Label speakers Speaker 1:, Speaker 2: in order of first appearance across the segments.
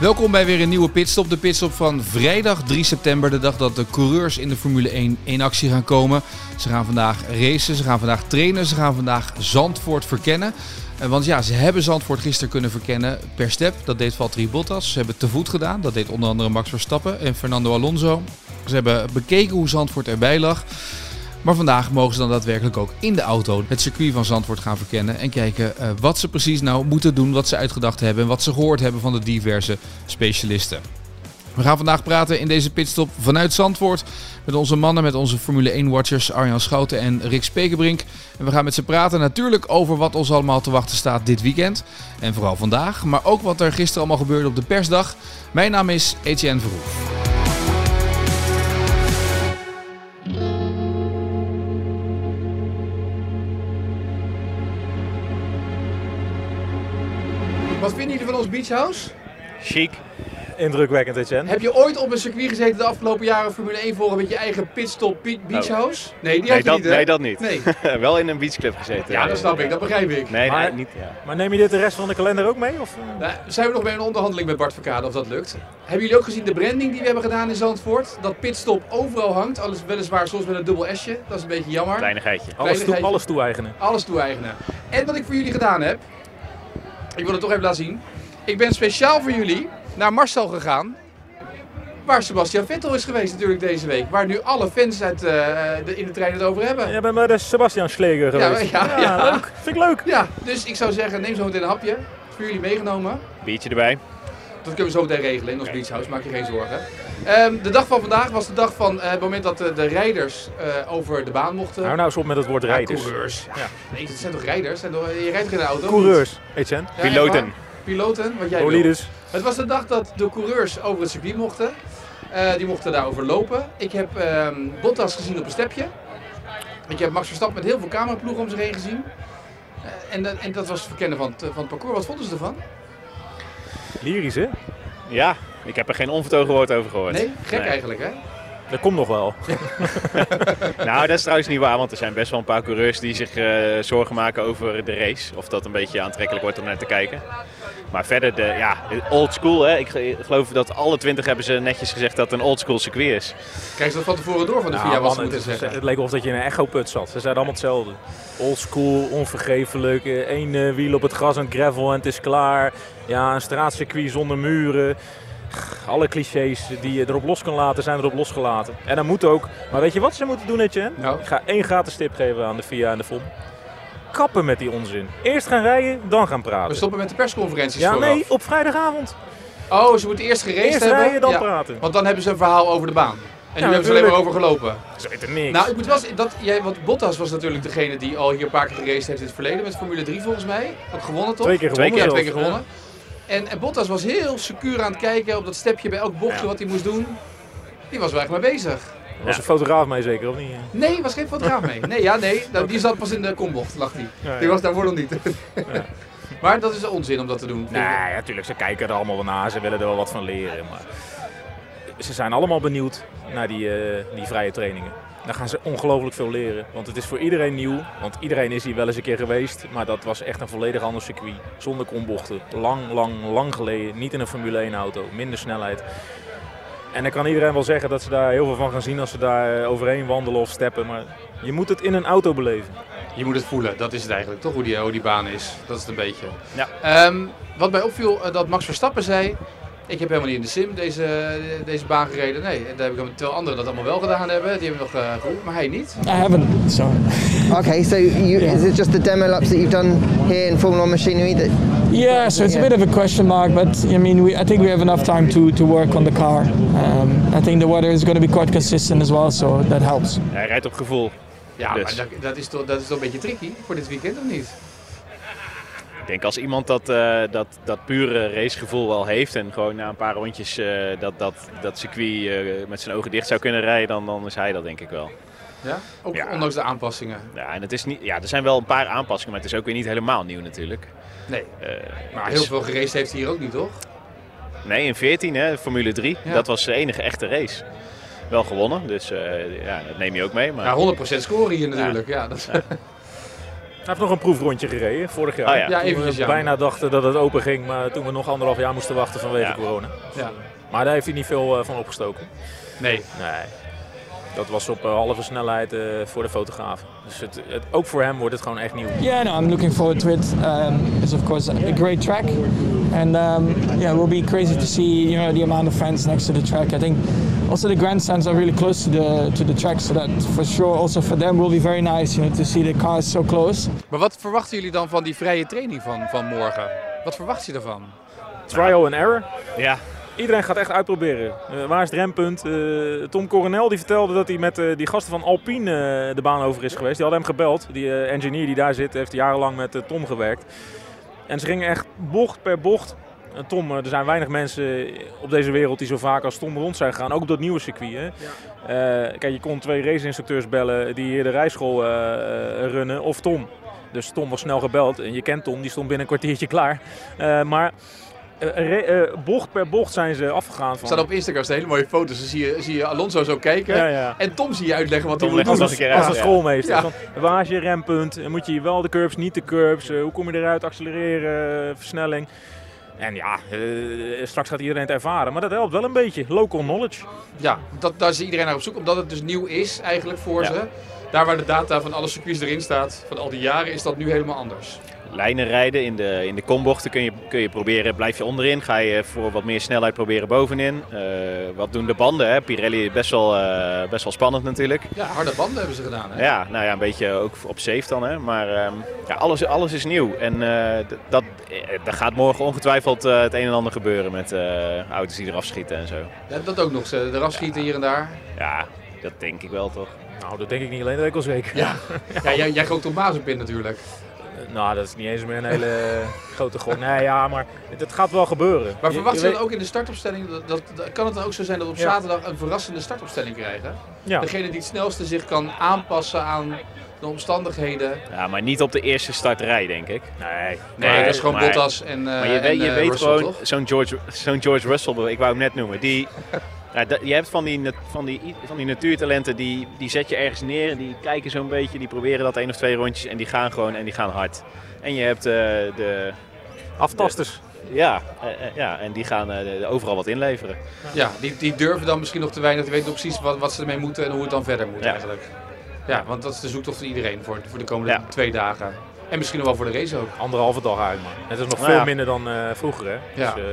Speaker 1: Welkom bij weer een nieuwe pitstop. De pitstop van vrijdag 3 september, de dag dat de coureurs in de Formule 1 in actie gaan komen. Ze gaan vandaag racen, ze gaan vandaag trainen, ze gaan vandaag Zandvoort verkennen. Eh, Want ja, ze hebben Zandvoort gisteren kunnen verkennen per step. Dat deed Valtteri Bottas. Ze hebben het te voet gedaan. Dat deed onder andere Max Verstappen en Fernando Alonso. Ze hebben bekeken hoe Zandvoort erbij lag. Maar vandaag mogen ze dan daadwerkelijk ook in de auto het circuit van Zandvoort gaan verkennen. En kijken eh, wat ze precies nou moeten doen, wat ze uitgedacht hebben en wat ze gehoord hebben van de diverse specialisten. We gaan vandaag praten in deze pitstop vanuit Zandvoort. Met onze mannen, met onze Formule 1-watchers Arjan Schouten en Rick Spekenbrink. En we gaan met ze praten natuurlijk over wat ons allemaal te wachten staat dit weekend. En vooral vandaag, maar ook wat er gisteren allemaal gebeurde op de persdag. Mijn naam is Etienne Verhoef. Wat vinden jullie van ons beachhouse?
Speaker 2: Chic.
Speaker 3: Indrukwekkend, Etienne.
Speaker 1: Heb je ooit op een circuit gezeten de afgelopen jaren Formule 1 volgen met je eigen pitstop be- beachhouse? Nee, die
Speaker 2: Nou. Nee
Speaker 1: had je
Speaker 2: dat,
Speaker 1: niet, hè?
Speaker 2: nee, dat niet.
Speaker 1: Nee.
Speaker 2: Wel in een beachclub gezeten.
Speaker 1: Ja, dat snap ik, dat begrijp ik.
Speaker 2: Nee, nee,
Speaker 3: Maar-
Speaker 2: niet. Ja.
Speaker 3: Maar neem je dit de rest van de kalender ook mee? Of, eh?
Speaker 1: Nou, zijn we nog bij een onderhandeling met Bart Verkade of dat lukt? Hebben jullie ook gezien de branding die we hebben gedaan in Zandvoort? Dat pitstop overal hangt, alles weliswaar soms met een dubbel S'je, dat is een beetje jammer.
Speaker 2: Kleinigheidje.
Speaker 3: alles, toe,
Speaker 1: kleinigheidje.
Speaker 3: alles toe-eigenen.
Speaker 1: Alles toe-eigenen. En wat ik voor jullie gedaan heb, ik wil het toch even laten zien. Ik ben speciaal voor jullie naar Marcel gegaan. Waar Sebastian Vettel is geweest natuurlijk deze week. Waar nu alle fans uit, eh, de, in de trein het over hebben.
Speaker 3: Jij bent bij de Sebastian Schleger
Speaker 1: Ja,
Speaker 3: geweest.
Speaker 1: ja, ja.
Speaker 3: leuk. Vind ik leuk.
Speaker 1: Ja, dus ik zou zeggen, neem zo meteen een hapje. Voor jullie meegenomen.
Speaker 2: Biertje erbij.
Speaker 1: Dat kunnen we zo meteen regelen in ons beachhouse, maak je geen zorgen. Ehm, de dag van vandaag was de dag van eh, het moment dat eh, de rijders eh, over de baan mochten.
Speaker 3: Hou nou eens op met het woord
Speaker 1: Ja,
Speaker 3: rijders.
Speaker 1: coureurs. Ja.
Speaker 3: Ja.
Speaker 1: Nee, het zijn toch rijders? Zijn toch- je rijdt geen auto?
Speaker 3: Coureurs, Etienne.
Speaker 1: Ja, echt
Speaker 2: Piloten.
Speaker 1: waar. Piloten, wat jij wil.
Speaker 3: Bolides.
Speaker 1: Het was de dag dat de coureurs over het circuit mochten. Eh, die mochten daarover lopen. Ik heb ehm, Bottas gezien op een stepje. Ik heb Max Verstappen met heel veel cameraploegen om zich heen gezien. Eh, en, dat- en dat was het verkennen van het, van het parcours. Wat vonden ze ervan?
Speaker 3: Lyrisch, hè?
Speaker 2: Ja, ik heb er geen onvertogen woord over gehoord.
Speaker 1: Nee? Gek
Speaker 2: Nee.
Speaker 1: eigenlijk, hè?
Speaker 3: Dat komt nog wel.
Speaker 2: Nou, dat is trouwens niet waar, want er zijn best wel een paar coureurs die zich eh, zorgen maken over de race. Of dat een beetje aantrekkelijk wordt om naar te kijken. Maar verder, de, ja, old school. Hè. Ik ge- geloof dat alle twintig hebben ze netjes gezegd dat het een old school circuit is.
Speaker 1: Krijg ze dat van tevoren door van de
Speaker 3: Nou,
Speaker 1: VIA
Speaker 3: man,
Speaker 1: was ze
Speaker 3: het,
Speaker 1: moeten
Speaker 3: is-
Speaker 1: zeggen.
Speaker 3: het leek alsof dat je in een echo-put zat. Ze zeiden allemaal hetzelfde. Oldschool, onvergeeflijk, eh, één eh, wiel op het gras en gravel en het is klaar. Ja, een straatcircuit zonder muren. Alle clichés die je erop los kan laten, zijn erop losgelaten. En dat moet ook. Maar weet je wat ze moeten doen, Etienne?
Speaker 1: Nou.
Speaker 3: Ik ga één gratis tip geven aan de VIA en de FOM. Kappen met die onzin. Eerst gaan rijden, dan gaan
Speaker 1: We
Speaker 3: praten.
Speaker 1: stoppen met de persconferenties
Speaker 3: Ja,
Speaker 1: vooraf.
Speaker 3: nee, op vrijdagavond.
Speaker 1: Oh, ze moeten eerst gereest
Speaker 3: Eerst
Speaker 1: hebben.
Speaker 3: rijden, dan
Speaker 1: Ja,
Speaker 3: praten.
Speaker 1: Want dan hebben ze een verhaal over de baan. En nu hebben ze alleen maar
Speaker 3: natuurlijk.
Speaker 1: over gelopen.
Speaker 3: Ze weten niks.
Speaker 1: Nou, ik moet wel zeggen, dat, jij, want Bottas was natuurlijk degene die al hier een paar keer gereest heeft in het verleden. Met Formule 3 volgens mij. Had gewonnen toch?
Speaker 3: Twee keer gewonnen
Speaker 1: Ja,
Speaker 3: zelfs,
Speaker 1: twee keer gewonnen. En, en Bottas was heel secuur aan het kijken op dat stepje bij elk bochtje
Speaker 3: Ja.
Speaker 1: wat hij moest doen. Die was wel echt mee bezig.
Speaker 3: Er was een fotograaf mee zeker, of niet?
Speaker 1: Nee, was geen fotograaf mee. Nee, ja, nee. nou, die zat pas in de kombocht, lag die.
Speaker 3: Ja,
Speaker 1: Die
Speaker 3: ja.
Speaker 1: was daarvoor nog niet. maar dat is onzin om dat te doen.
Speaker 3: Nou, ja, natuurlijk. Ze kijken er allemaal wel naar. Ze willen er wel wat van leren. Maar ze zijn allemaal benieuwd naar die, eh, die vrije trainingen. Daar gaan ze ongelooflijk veel leren. Want het is voor iedereen nieuw. Want iedereen is hier wel eens een keer geweest. Maar dat was echt een volledig ander circuit. Zonder kombochten. Lang, lang, lang geleden. Niet in een Formule 1 auto. Minder snelheid. En dan kan iedereen wel zeggen dat ze daar heel veel van gaan zien als ze daar eh, overheen wandelen of steppen. Maar je moet het in een auto beleven.
Speaker 1: Je moet het voelen, dat is het eigenlijk toch, hoe die, hoe die baan is. Dat is het een beetje.
Speaker 2: Ja.
Speaker 1: Ehm, wat mij opviel, eh, dat Max Verstappen zei, ik heb helemaal niet in de sim deze, deze baan gereden. Nee, en daar heb ik hem, terwijl anderen dat allemaal wel gedaan hebben, die hebben nog eh geroepen, maar hij niet.
Speaker 4: I haven't. So
Speaker 5: Okay, so you, is it just the demo laps that you've done here in Formula One Machinery that
Speaker 4: yeah, so it's a bit of a question mark, but I mean, we, I think we have enough time to, to work on the car. Um, I think the weather is going to be quite consistent as well, so that helps.
Speaker 2: Hij rijdt op gevoel.
Speaker 1: Ja,
Speaker 2: Dus.
Speaker 1: maar dat, dat is toch, dat is toch een beetje tricky voor dit weekend, of niet?
Speaker 2: Ik denk als iemand dat, eh, dat, dat pure racegevoel wel heeft en gewoon na een paar rondjes eh, dat, dat, dat circuit eh, met zijn ogen dicht zou kunnen rijden, dan, dan is hij dat denk ik wel.
Speaker 1: Ja? Ook
Speaker 2: Ja.
Speaker 1: ondanks de aanpassingen.
Speaker 2: Ja, en het is niet, ja, er zijn wel een paar aanpassingen, maar het is ook weer niet helemaal nieuw natuurlijk.
Speaker 1: Nee.
Speaker 2: Eh,
Speaker 1: Maar
Speaker 2: het
Speaker 1: heel
Speaker 2: is-
Speaker 1: veel gereisd heeft hij hier ook niet, toch?
Speaker 2: Nee, in 14, hè, Formule 3.
Speaker 1: Ja.
Speaker 2: Dat was de enige echte race. Wel gewonnen, dus eh, ja, dat neem je ook mee. Maar...
Speaker 1: Ja, 100% scoren hier natuurlijk. Ja, dat,
Speaker 3: Hij heeft nog een proefrondje gereden vorig jaar.
Speaker 2: Ah, ja.
Speaker 1: Ja,
Speaker 3: Toen we
Speaker 1: eventjes, ja.
Speaker 3: bijna dachten dat het open ging, maar toen we nog anderhalf jaar moesten wachten vanwege
Speaker 2: Ja.
Speaker 3: corona.
Speaker 1: ja.
Speaker 3: Maar daar heeft hij niet veel eh, van opgestoken.
Speaker 1: Nee.
Speaker 3: Nee. Dat was op eh, halve snelheid eh, voor de fotograaf. Dus het, het- ook voor hem wordt het gewoon echt nieuw.
Speaker 4: Yeah, no, I'm looking forward to it. Um, it's of course a great track, and um, yeah, it will be crazy to see you know the amount of fans next to the track. I think also the grandstands are really close to the to the track, so that for sure also for them will be very nice, you know, to see the cars so close.
Speaker 1: Maar wat verwachten jullie dan van die vrije training van, van morgen? Wat verwacht je daarvan?
Speaker 3: Trial and error.
Speaker 2: Ja,
Speaker 3: Iedereen gaat echt uitproberen. Eh, waar is het rempunt? Eh, Tom Coronel die vertelde dat hij met eh, die gasten van Alpine eh, de baan over is geweest. Die hadden hem gebeld. Die eh, engineer die daar zit heeft jarenlang met eh, Tom gewerkt. En ze gingen echt bocht per bocht. En Tom, eh, er zijn weinig mensen op deze wereld die zo vaak als Tom rond zijn gegaan. Ook op dat nieuwe circuit. Hè? Eh, kijk, je kon twee raceinstructeurs bellen die hier de rijschool eh, eh, runnen. Of Tom. Dus Tom was snel gebeld. En je kent Tom, die stond binnen een kwartiertje klaar. Eh, maar eh, re- eh, bocht per bocht zijn ze afgegaan.
Speaker 1: Er
Speaker 3: Van,
Speaker 1: staan op Instagram staan hele mooie foto's. Dan zie je, zie je Alonso zo kijken.
Speaker 3: Ja, ja.
Speaker 1: En Tom zie je uitleggen wat hij
Speaker 2: Tom
Speaker 1: moet
Speaker 2: legt
Speaker 1: doen.
Speaker 2: het nog een keer uit.
Speaker 3: Als een
Speaker 2: ja.
Speaker 3: schoolmeester.
Speaker 1: Ja.
Speaker 3: Van, waar is je rempunt? Moet je hier wel de curbs, niet de curbs? Eh, hoe kom je eruit? Accelereren, eh, versnelling. En ja, eh, straks gaat iedereen het ervaren. Maar dat helpt wel een beetje. Local knowledge.
Speaker 1: Ja, dat, daar is iedereen naar op zoek. Omdat het dus nieuw is eigenlijk voor
Speaker 2: Ja.
Speaker 1: ze. Daar waar de data van alle circuits erin staat, van al die jaren, is dat nu helemaal anders.
Speaker 2: lijnen rijden in de, in de kombochten kun je, kun je proberen. Blijf je onderin, ga je voor wat meer snelheid proberen bovenin. Eh, wat doen de banden? Hè? Pirelli best wel, eh, best wel spannend natuurlijk.
Speaker 1: Ja, harde banden hebben ze gedaan. Hè?
Speaker 2: Ja, nou ja, een beetje ook op safe dan. Hè? Maar ehm, ja, alles, alles is nieuw. En eh, d- dat, eh, er gaat morgen ongetwijfeld eh, het een en ander gebeuren met eh, auto's die eraf schieten en zo.
Speaker 1: Ja, Dat ook nog. Ze eraf schieten hier en daar.
Speaker 2: Ja, dat denk ik wel toch.
Speaker 3: Nou, dat denk ik niet alleen, dat weet ik wel zeker.
Speaker 1: Ja, ja jij, jij gooit op Maas op in natuurlijk.
Speaker 3: Eh, Nou, dat is niet eens meer een hele eh, grote gok. Nee, ja, maar dat gaat wel gebeuren.
Speaker 1: Maar verwacht je
Speaker 3: weet-
Speaker 1: dan ook in de startopstelling, dat, dat, dat- kan het dan ook zo zijn dat we op
Speaker 3: Ja.
Speaker 1: zaterdag een verrassende startopstelling krijgen?
Speaker 3: Ja.
Speaker 1: Degene die het snelste zich kan aanpassen aan de omstandigheden.
Speaker 2: Ja, maar niet op de eerste starterij, denk ik.
Speaker 3: Nee.
Speaker 1: Nee,
Speaker 2: Maar-
Speaker 1: dat is gewoon
Speaker 2: maar-
Speaker 1: Bottas en eh,
Speaker 2: Maar je, weet-
Speaker 1: en,
Speaker 2: je
Speaker 1: eh,
Speaker 2: weet
Speaker 1: Russell,
Speaker 2: gewoon,
Speaker 1: toch?
Speaker 2: zo'n George, zo'n George Russell, ik wou hem net noemen, die... Ja, dat- je hebt van die, nat- van die, van die natuurtalenten, die, die zet je ergens neer, die kijken zo'n beetje, die proberen dat één of twee rondjes en die gaan gewoon en die gaan hard. En je hebt eh, de,
Speaker 3: Aftasters.
Speaker 2: ja, eh, eh, ja, en die gaan eh, de- de- overal wat inleveren.
Speaker 1: Ja, die, die durven dan misschien nog te weinig. Die weten nog precies wat, wat ze ermee moeten en hoe het dan verder moet
Speaker 2: Ja.
Speaker 1: eigenlijk. Ja, want dat is de zoektocht van iedereen voor, voor de komende
Speaker 2: Ja.
Speaker 1: twee dagen. En misschien nog wel voor de race ook.
Speaker 3: Anderhalve dag uit, man. Het is nog
Speaker 2: Nou
Speaker 3: veel
Speaker 2: ja.
Speaker 3: minder dan eh, vroeger, hè?
Speaker 1: Ja.
Speaker 3: Dus, eh,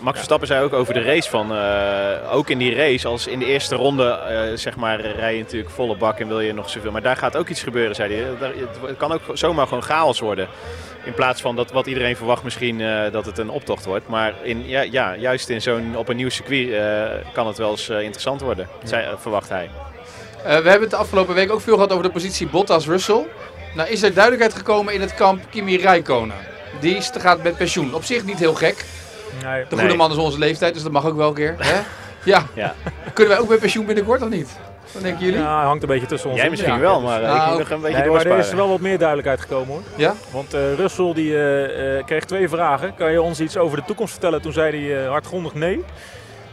Speaker 2: Max Verstappen zei ook over de race van, eh, ook in die race, als in de eerste ronde, eh, zeg maar, rij je natuurlijk volle bak en wil je nog zoveel. Maar daar gaat ook iets gebeuren, zei hij. Daar- Het het kan ook zomaar gewoon chaos worden. In plaats van dat wat iedereen verwacht misschien eh, dat het een optocht wordt. Maar in, ja, ja, juist in zo'n, op een nieuw circuit eh, kan het wel eens eh, interessant worden, zei, eh, verwacht hij.
Speaker 1: Eh, we hebben het de afgelopen week ook veel gehad over de positie Bottas-Russell. Nou is er duidelijkheid gekomen in het kamp Kimi Räikkönen. Die is- gaat met pensioen. Op zich niet heel gek.
Speaker 3: nee.
Speaker 1: De goede
Speaker 2: Nee.
Speaker 1: man is onze leeftijd, dus dat mag ook wel een keer. Hè? Ja.
Speaker 2: Ja.
Speaker 1: Kunnen wij ook met pensioen binnenkort of niet? Wat denken jullie?
Speaker 3: Ja, hangt een beetje tussen ons.
Speaker 2: Jij
Speaker 3: in.
Speaker 2: misschien
Speaker 1: ja,
Speaker 2: wel, maar eh, ik
Speaker 1: nou,
Speaker 2: moet nog een beetje
Speaker 3: Nee, maar er
Speaker 2: doorsparen.
Speaker 3: is wel wat meer duidelijkheid gekomen, hoor.
Speaker 1: Ja?
Speaker 3: Want eh Russell die, eh, eh, kreeg twee vragen. Kan je ons iets over de toekomst vertellen? Toen zei hij eh, hardgrondig nee.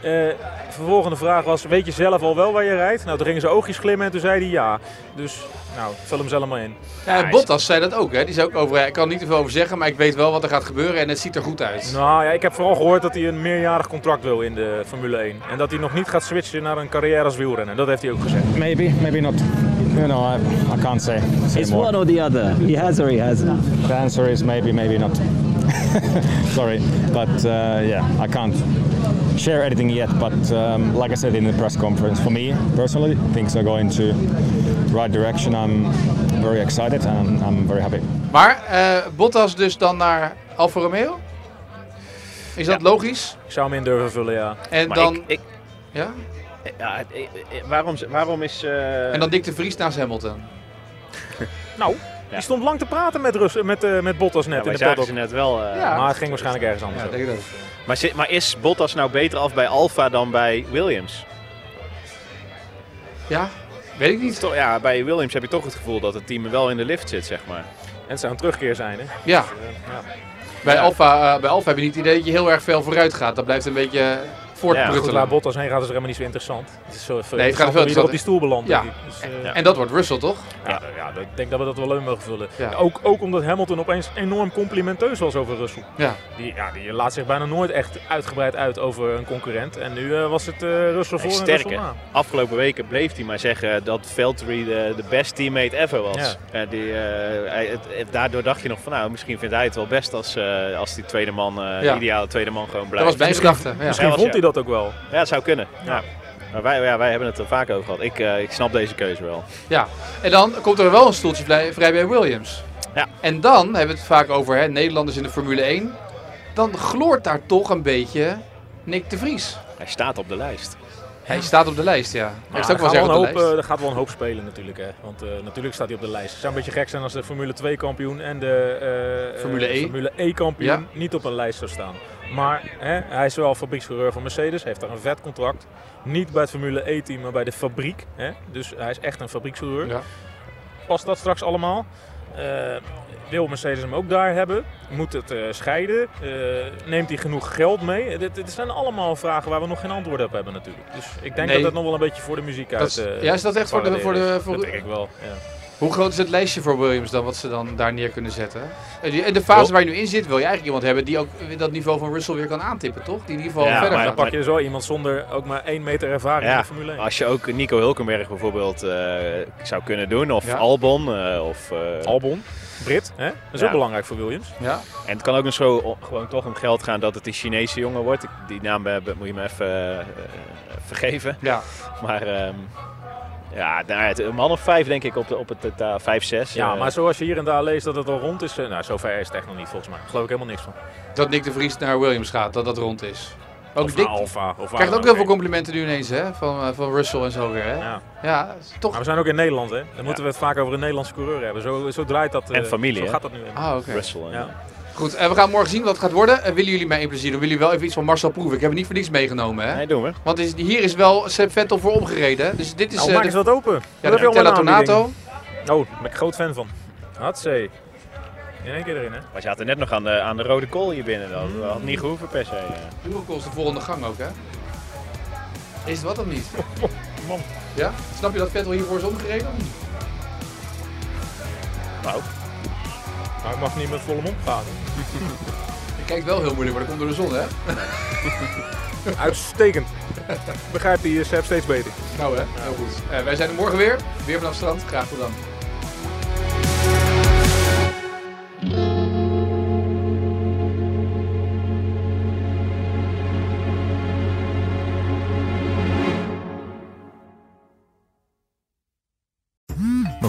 Speaker 3: Eh vervolgende vraag was, weet je zelf al wel waar je rijdt? Nou, toen gingen zijn oogjes glimmen en toen zei hij ja. Dus, nou, vul hem zelf maar in.
Speaker 1: Ja, en
Speaker 2: is-
Speaker 1: Bottas zei dat ook. Hè? Die zei ook over, ik kan er niet te veel over zeggen, maar ik weet wel wat er gaat gebeuren en het ziet er goed uit.
Speaker 3: Nou ja, ik heb vooral gehoord dat hij een meerjarig contract wil in de Formule 1. En dat hij nog niet gaat switchen naar een carrière als wielrenner. Dat heeft hij ook gezegd.
Speaker 6: Maybe, maybe not. You know, I, I can't say. say
Speaker 7: It's
Speaker 6: more.
Speaker 7: one or the other. He has or he hasn't.
Speaker 6: The answer is maybe, maybe not. Sorry, but uh, yeah, I can't share anything yet. But um, like I said in the press conference, for me personally, things are going to right direction. I'm very excited and I'm very happy.
Speaker 1: Maar eh, Bottas dus dan naar Alfa Romeo? Is dat logisch?
Speaker 3: Ik zou hem in durven vullen, ja.
Speaker 1: En
Speaker 2: Maar
Speaker 1: dan,
Speaker 2: ik- ik-
Speaker 1: ja?
Speaker 2: ja, ik- ik- waarom, waarom is... eh,
Speaker 1: en dan Dick de Vries naast Hamilton.
Speaker 3: Nou, Die stond lang te praten met, Rus, met, eh, met Bottas net in
Speaker 2: wij
Speaker 3: de paddock.
Speaker 2: zagen ze net wel. eh,
Speaker 3: Maar het ging waarschijnlijk ergens anders. over.
Speaker 2: maar, zit- maar is Bottas nou beter af bij Alfa dan bij Williams?
Speaker 1: Ja, weet ik niet.
Speaker 2: Toch, ja, bij Williams heb je toch het gevoel dat het team wel in de lift zit, zeg maar.
Speaker 3: En het zou een terugkeer zijn, hè?
Speaker 1: Ja. Bij Alfa, eh, bij Alfa heb je niet het idee dat je heel erg veel vooruit gaat. Dat blijft een beetje eh,
Speaker 3: Goed,
Speaker 1: voortpruttelen.
Speaker 3: waar Bottas heen gaat is er helemaal niet zo interessant. Het is zo
Speaker 1: wel
Speaker 3: nee, gaat
Speaker 1: interessant.
Speaker 3: weer op die stoel belandt.
Speaker 1: Ja.
Speaker 3: denk ik. Dus, eh,
Speaker 1: En dat wordt Russell, toch?
Speaker 3: ja, ja, ik denk dat we dat wel leuk mogen vullen.
Speaker 1: Ja.
Speaker 3: Ook, ook omdat Hamilton opeens enorm complimenteus was over Russell.
Speaker 1: Ja.
Speaker 3: Die, ja, die laat zich bijna nooit echt uitgebreid uit over een concurrent. En nu eh, was het eh Russell
Speaker 2: Hij
Speaker 3: voor
Speaker 2: is
Speaker 3: en
Speaker 2: sterk,
Speaker 3: Russell
Speaker 2: hè?
Speaker 3: na.
Speaker 2: Afgelopen weken bleef hij maar zeggen dat Valtteri de, de best teammate ever was.
Speaker 3: Ja.
Speaker 2: En die, eh, hij- het- het- daardoor dacht je nog van, nou, misschien vindt hij het wel best als, eh, als die tweede man, eh,
Speaker 1: Ja.
Speaker 2: de ideale tweede man gewoon
Speaker 1: Dat
Speaker 2: blijft.
Speaker 1: was mijn gedachte. Ja.
Speaker 3: Misschien
Speaker 2: Ja, was
Speaker 3: vond
Speaker 2: ja.
Speaker 3: hij dat ook wel.
Speaker 2: Ja, het zou kunnen. Ja. Maar wij, ja, wij hebben het er vaak over gehad. Ik, eh, ik snap deze keuze wel.
Speaker 1: Ja, en dan komt er wel een stoeltje vrij, vrij bij Williams.
Speaker 2: Ja.
Speaker 1: En dan hebben we het vaak over hè, Nederlanders in de Formule 1. Dan gloort daar toch een beetje Nick de Vries.
Speaker 2: Hij staat op de lijst.
Speaker 1: Hij staat op de lijst, ja. Hij
Speaker 3: Maar
Speaker 1: staat ook wel
Speaker 3: er, gaat
Speaker 1: zeggen
Speaker 3: wel
Speaker 1: op de
Speaker 3: een hoop,
Speaker 1: lijst.
Speaker 3: eh, er gaat wel een hoop spelen natuurlijk. Hè. Want eh, natuurlijk staat hij op de lijst. Het zou een beetje gek zijn als de Formule 2 kampioen en de eh, eh,
Speaker 1: Formule E.
Speaker 3: Formule E kampioen
Speaker 1: Ja.
Speaker 3: niet op een lijst zou staan. Maar hè, hij is wel fabriekscoureur van Mercedes, heeft daar een vet contract. Niet bij het Formule E-team, maar bij de fabriek. Hè. Dus hij is echt een fabriekscoureur.
Speaker 1: Ja.
Speaker 3: Past dat straks allemaal? Eh, wil Mercedes hem ook daar hebben? Moet het eh, scheiden? Eh, neemt hij genoeg geld mee? Eh, Dit, dit zijn allemaal vragen waar we nog geen antwoorden op hebben natuurlijk. Dus ik denk
Speaker 1: Nee.
Speaker 3: dat dat nog wel een beetje voor de muziek
Speaker 1: Dat
Speaker 3: uit...
Speaker 1: is-
Speaker 3: eh,
Speaker 1: ja, is dat echt voor de- voor de- voor
Speaker 3: dat
Speaker 1: de-
Speaker 3: denk ik wel. Ja.
Speaker 1: Hoe groot is het lijstje voor Williams dan, wat ze dan daar neer kunnen zetten? En die- en de fase waar je nu in zit, wil je eigenlijk iemand hebben die ook eh, dat niveau van Russell weer kan aantippen, toch? Die in ieder geval
Speaker 2: Ja,
Speaker 1: verder
Speaker 3: Maar
Speaker 1: gaat.
Speaker 3: dan pak je zo iemand zonder ook maar één meter ervaring in
Speaker 2: Ja,
Speaker 3: de Formule 1.
Speaker 1: Ah,
Speaker 2: als je ook Nico Hulkenberg bijvoorbeeld eh, zou kunnen doen, of
Speaker 1: Ja.
Speaker 2: Albon, eh, of... eh,
Speaker 3: Albon, Brit, hè? dat is
Speaker 2: Ja.
Speaker 3: ook belangrijk voor Williams.
Speaker 1: Ja.
Speaker 2: En het kan ook nog zo o- gewoon toch om geld gaan dat het die Chinese jongen wordt. Ik- Die naam eh, be- moet je me even eh, eh, vergeven.
Speaker 1: Ja.
Speaker 2: Maar ehm, ja, nou, het- een man of vijf denk ik op, de, op het totaal. Vijf, zes.
Speaker 3: Ja,
Speaker 2: eh.
Speaker 3: maar zoals je hier en daar leest dat het al rond is, eh, nou zover is het echt nog niet volgens mij. Daar geloof ik helemaal niks van.
Speaker 1: Dat Nick de Vries naar Williams gaat, dat dat rond is. Ook
Speaker 3: Of nou,
Speaker 1: Dick
Speaker 3: naar Alfa. Of waar
Speaker 1: krijgt
Speaker 3: dan
Speaker 1: ook heel veel
Speaker 3: heen.
Speaker 1: complimenten nu ineens hè, van, eh, van Russell en zo weer. Hè?
Speaker 3: Ja.
Speaker 1: Ja, toch.
Speaker 3: Maar we zijn ook in Nederland, hè? Dan moeten we het vaak over een Nederlandse coureur hebben. Zo, zo draait dat. eh,
Speaker 2: En familie,
Speaker 3: Zo
Speaker 2: hè?
Speaker 3: gaat dat nu. in.
Speaker 1: Ah, oké.
Speaker 2: Russell. eh.
Speaker 3: Ja.
Speaker 1: Goed, eh, we gaan morgen zien wat het gaat worden. En willen jullie mij een plezier doen? Willen jullie wel even iets van Marcel proeven? Ik heb het niet voor niks meegenomen, hè?
Speaker 2: Nee, doen we.
Speaker 1: Want is, hier is wel Seb Vettel voor omgereden. Dus dit is
Speaker 3: Nou,
Speaker 1: eh,
Speaker 3: maak
Speaker 1: de-
Speaker 3: eens wat open.
Speaker 1: ja,
Speaker 3: Wat heb
Speaker 1: de
Speaker 3: je allemaal
Speaker 1: Nutella
Speaker 3: aan, die
Speaker 1: Tornado.
Speaker 3: dingen? Oh, daar ben ik groot fan van. Hatsé. In één keer erin, hè?
Speaker 2: We zaten net nog aan de, aan de rode kool hier binnen. Dat had niet gehoeven per se. eh.
Speaker 1: Hoeveel kost de volgende gang ook, hè? Is het wat of niet? Ja? Snap je dat Vettel hiervoor is omgereden? of niet?
Speaker 2: Nou,
Speaker 3: Maar ik mag niet met volle mond praten.
Speaker 1: Hij kijkt wel heel moeilijk, maar dat komt door de zon, hè?
Speaker 3: Uitstekend. Begrijpt die eh, Seb steeds beter.
Speaker 1: Nou, hè? Heel goed. Eh, wij zijn er morgen weer. Weer vanaf het strand. Graag tot dan.
Speaker 8: We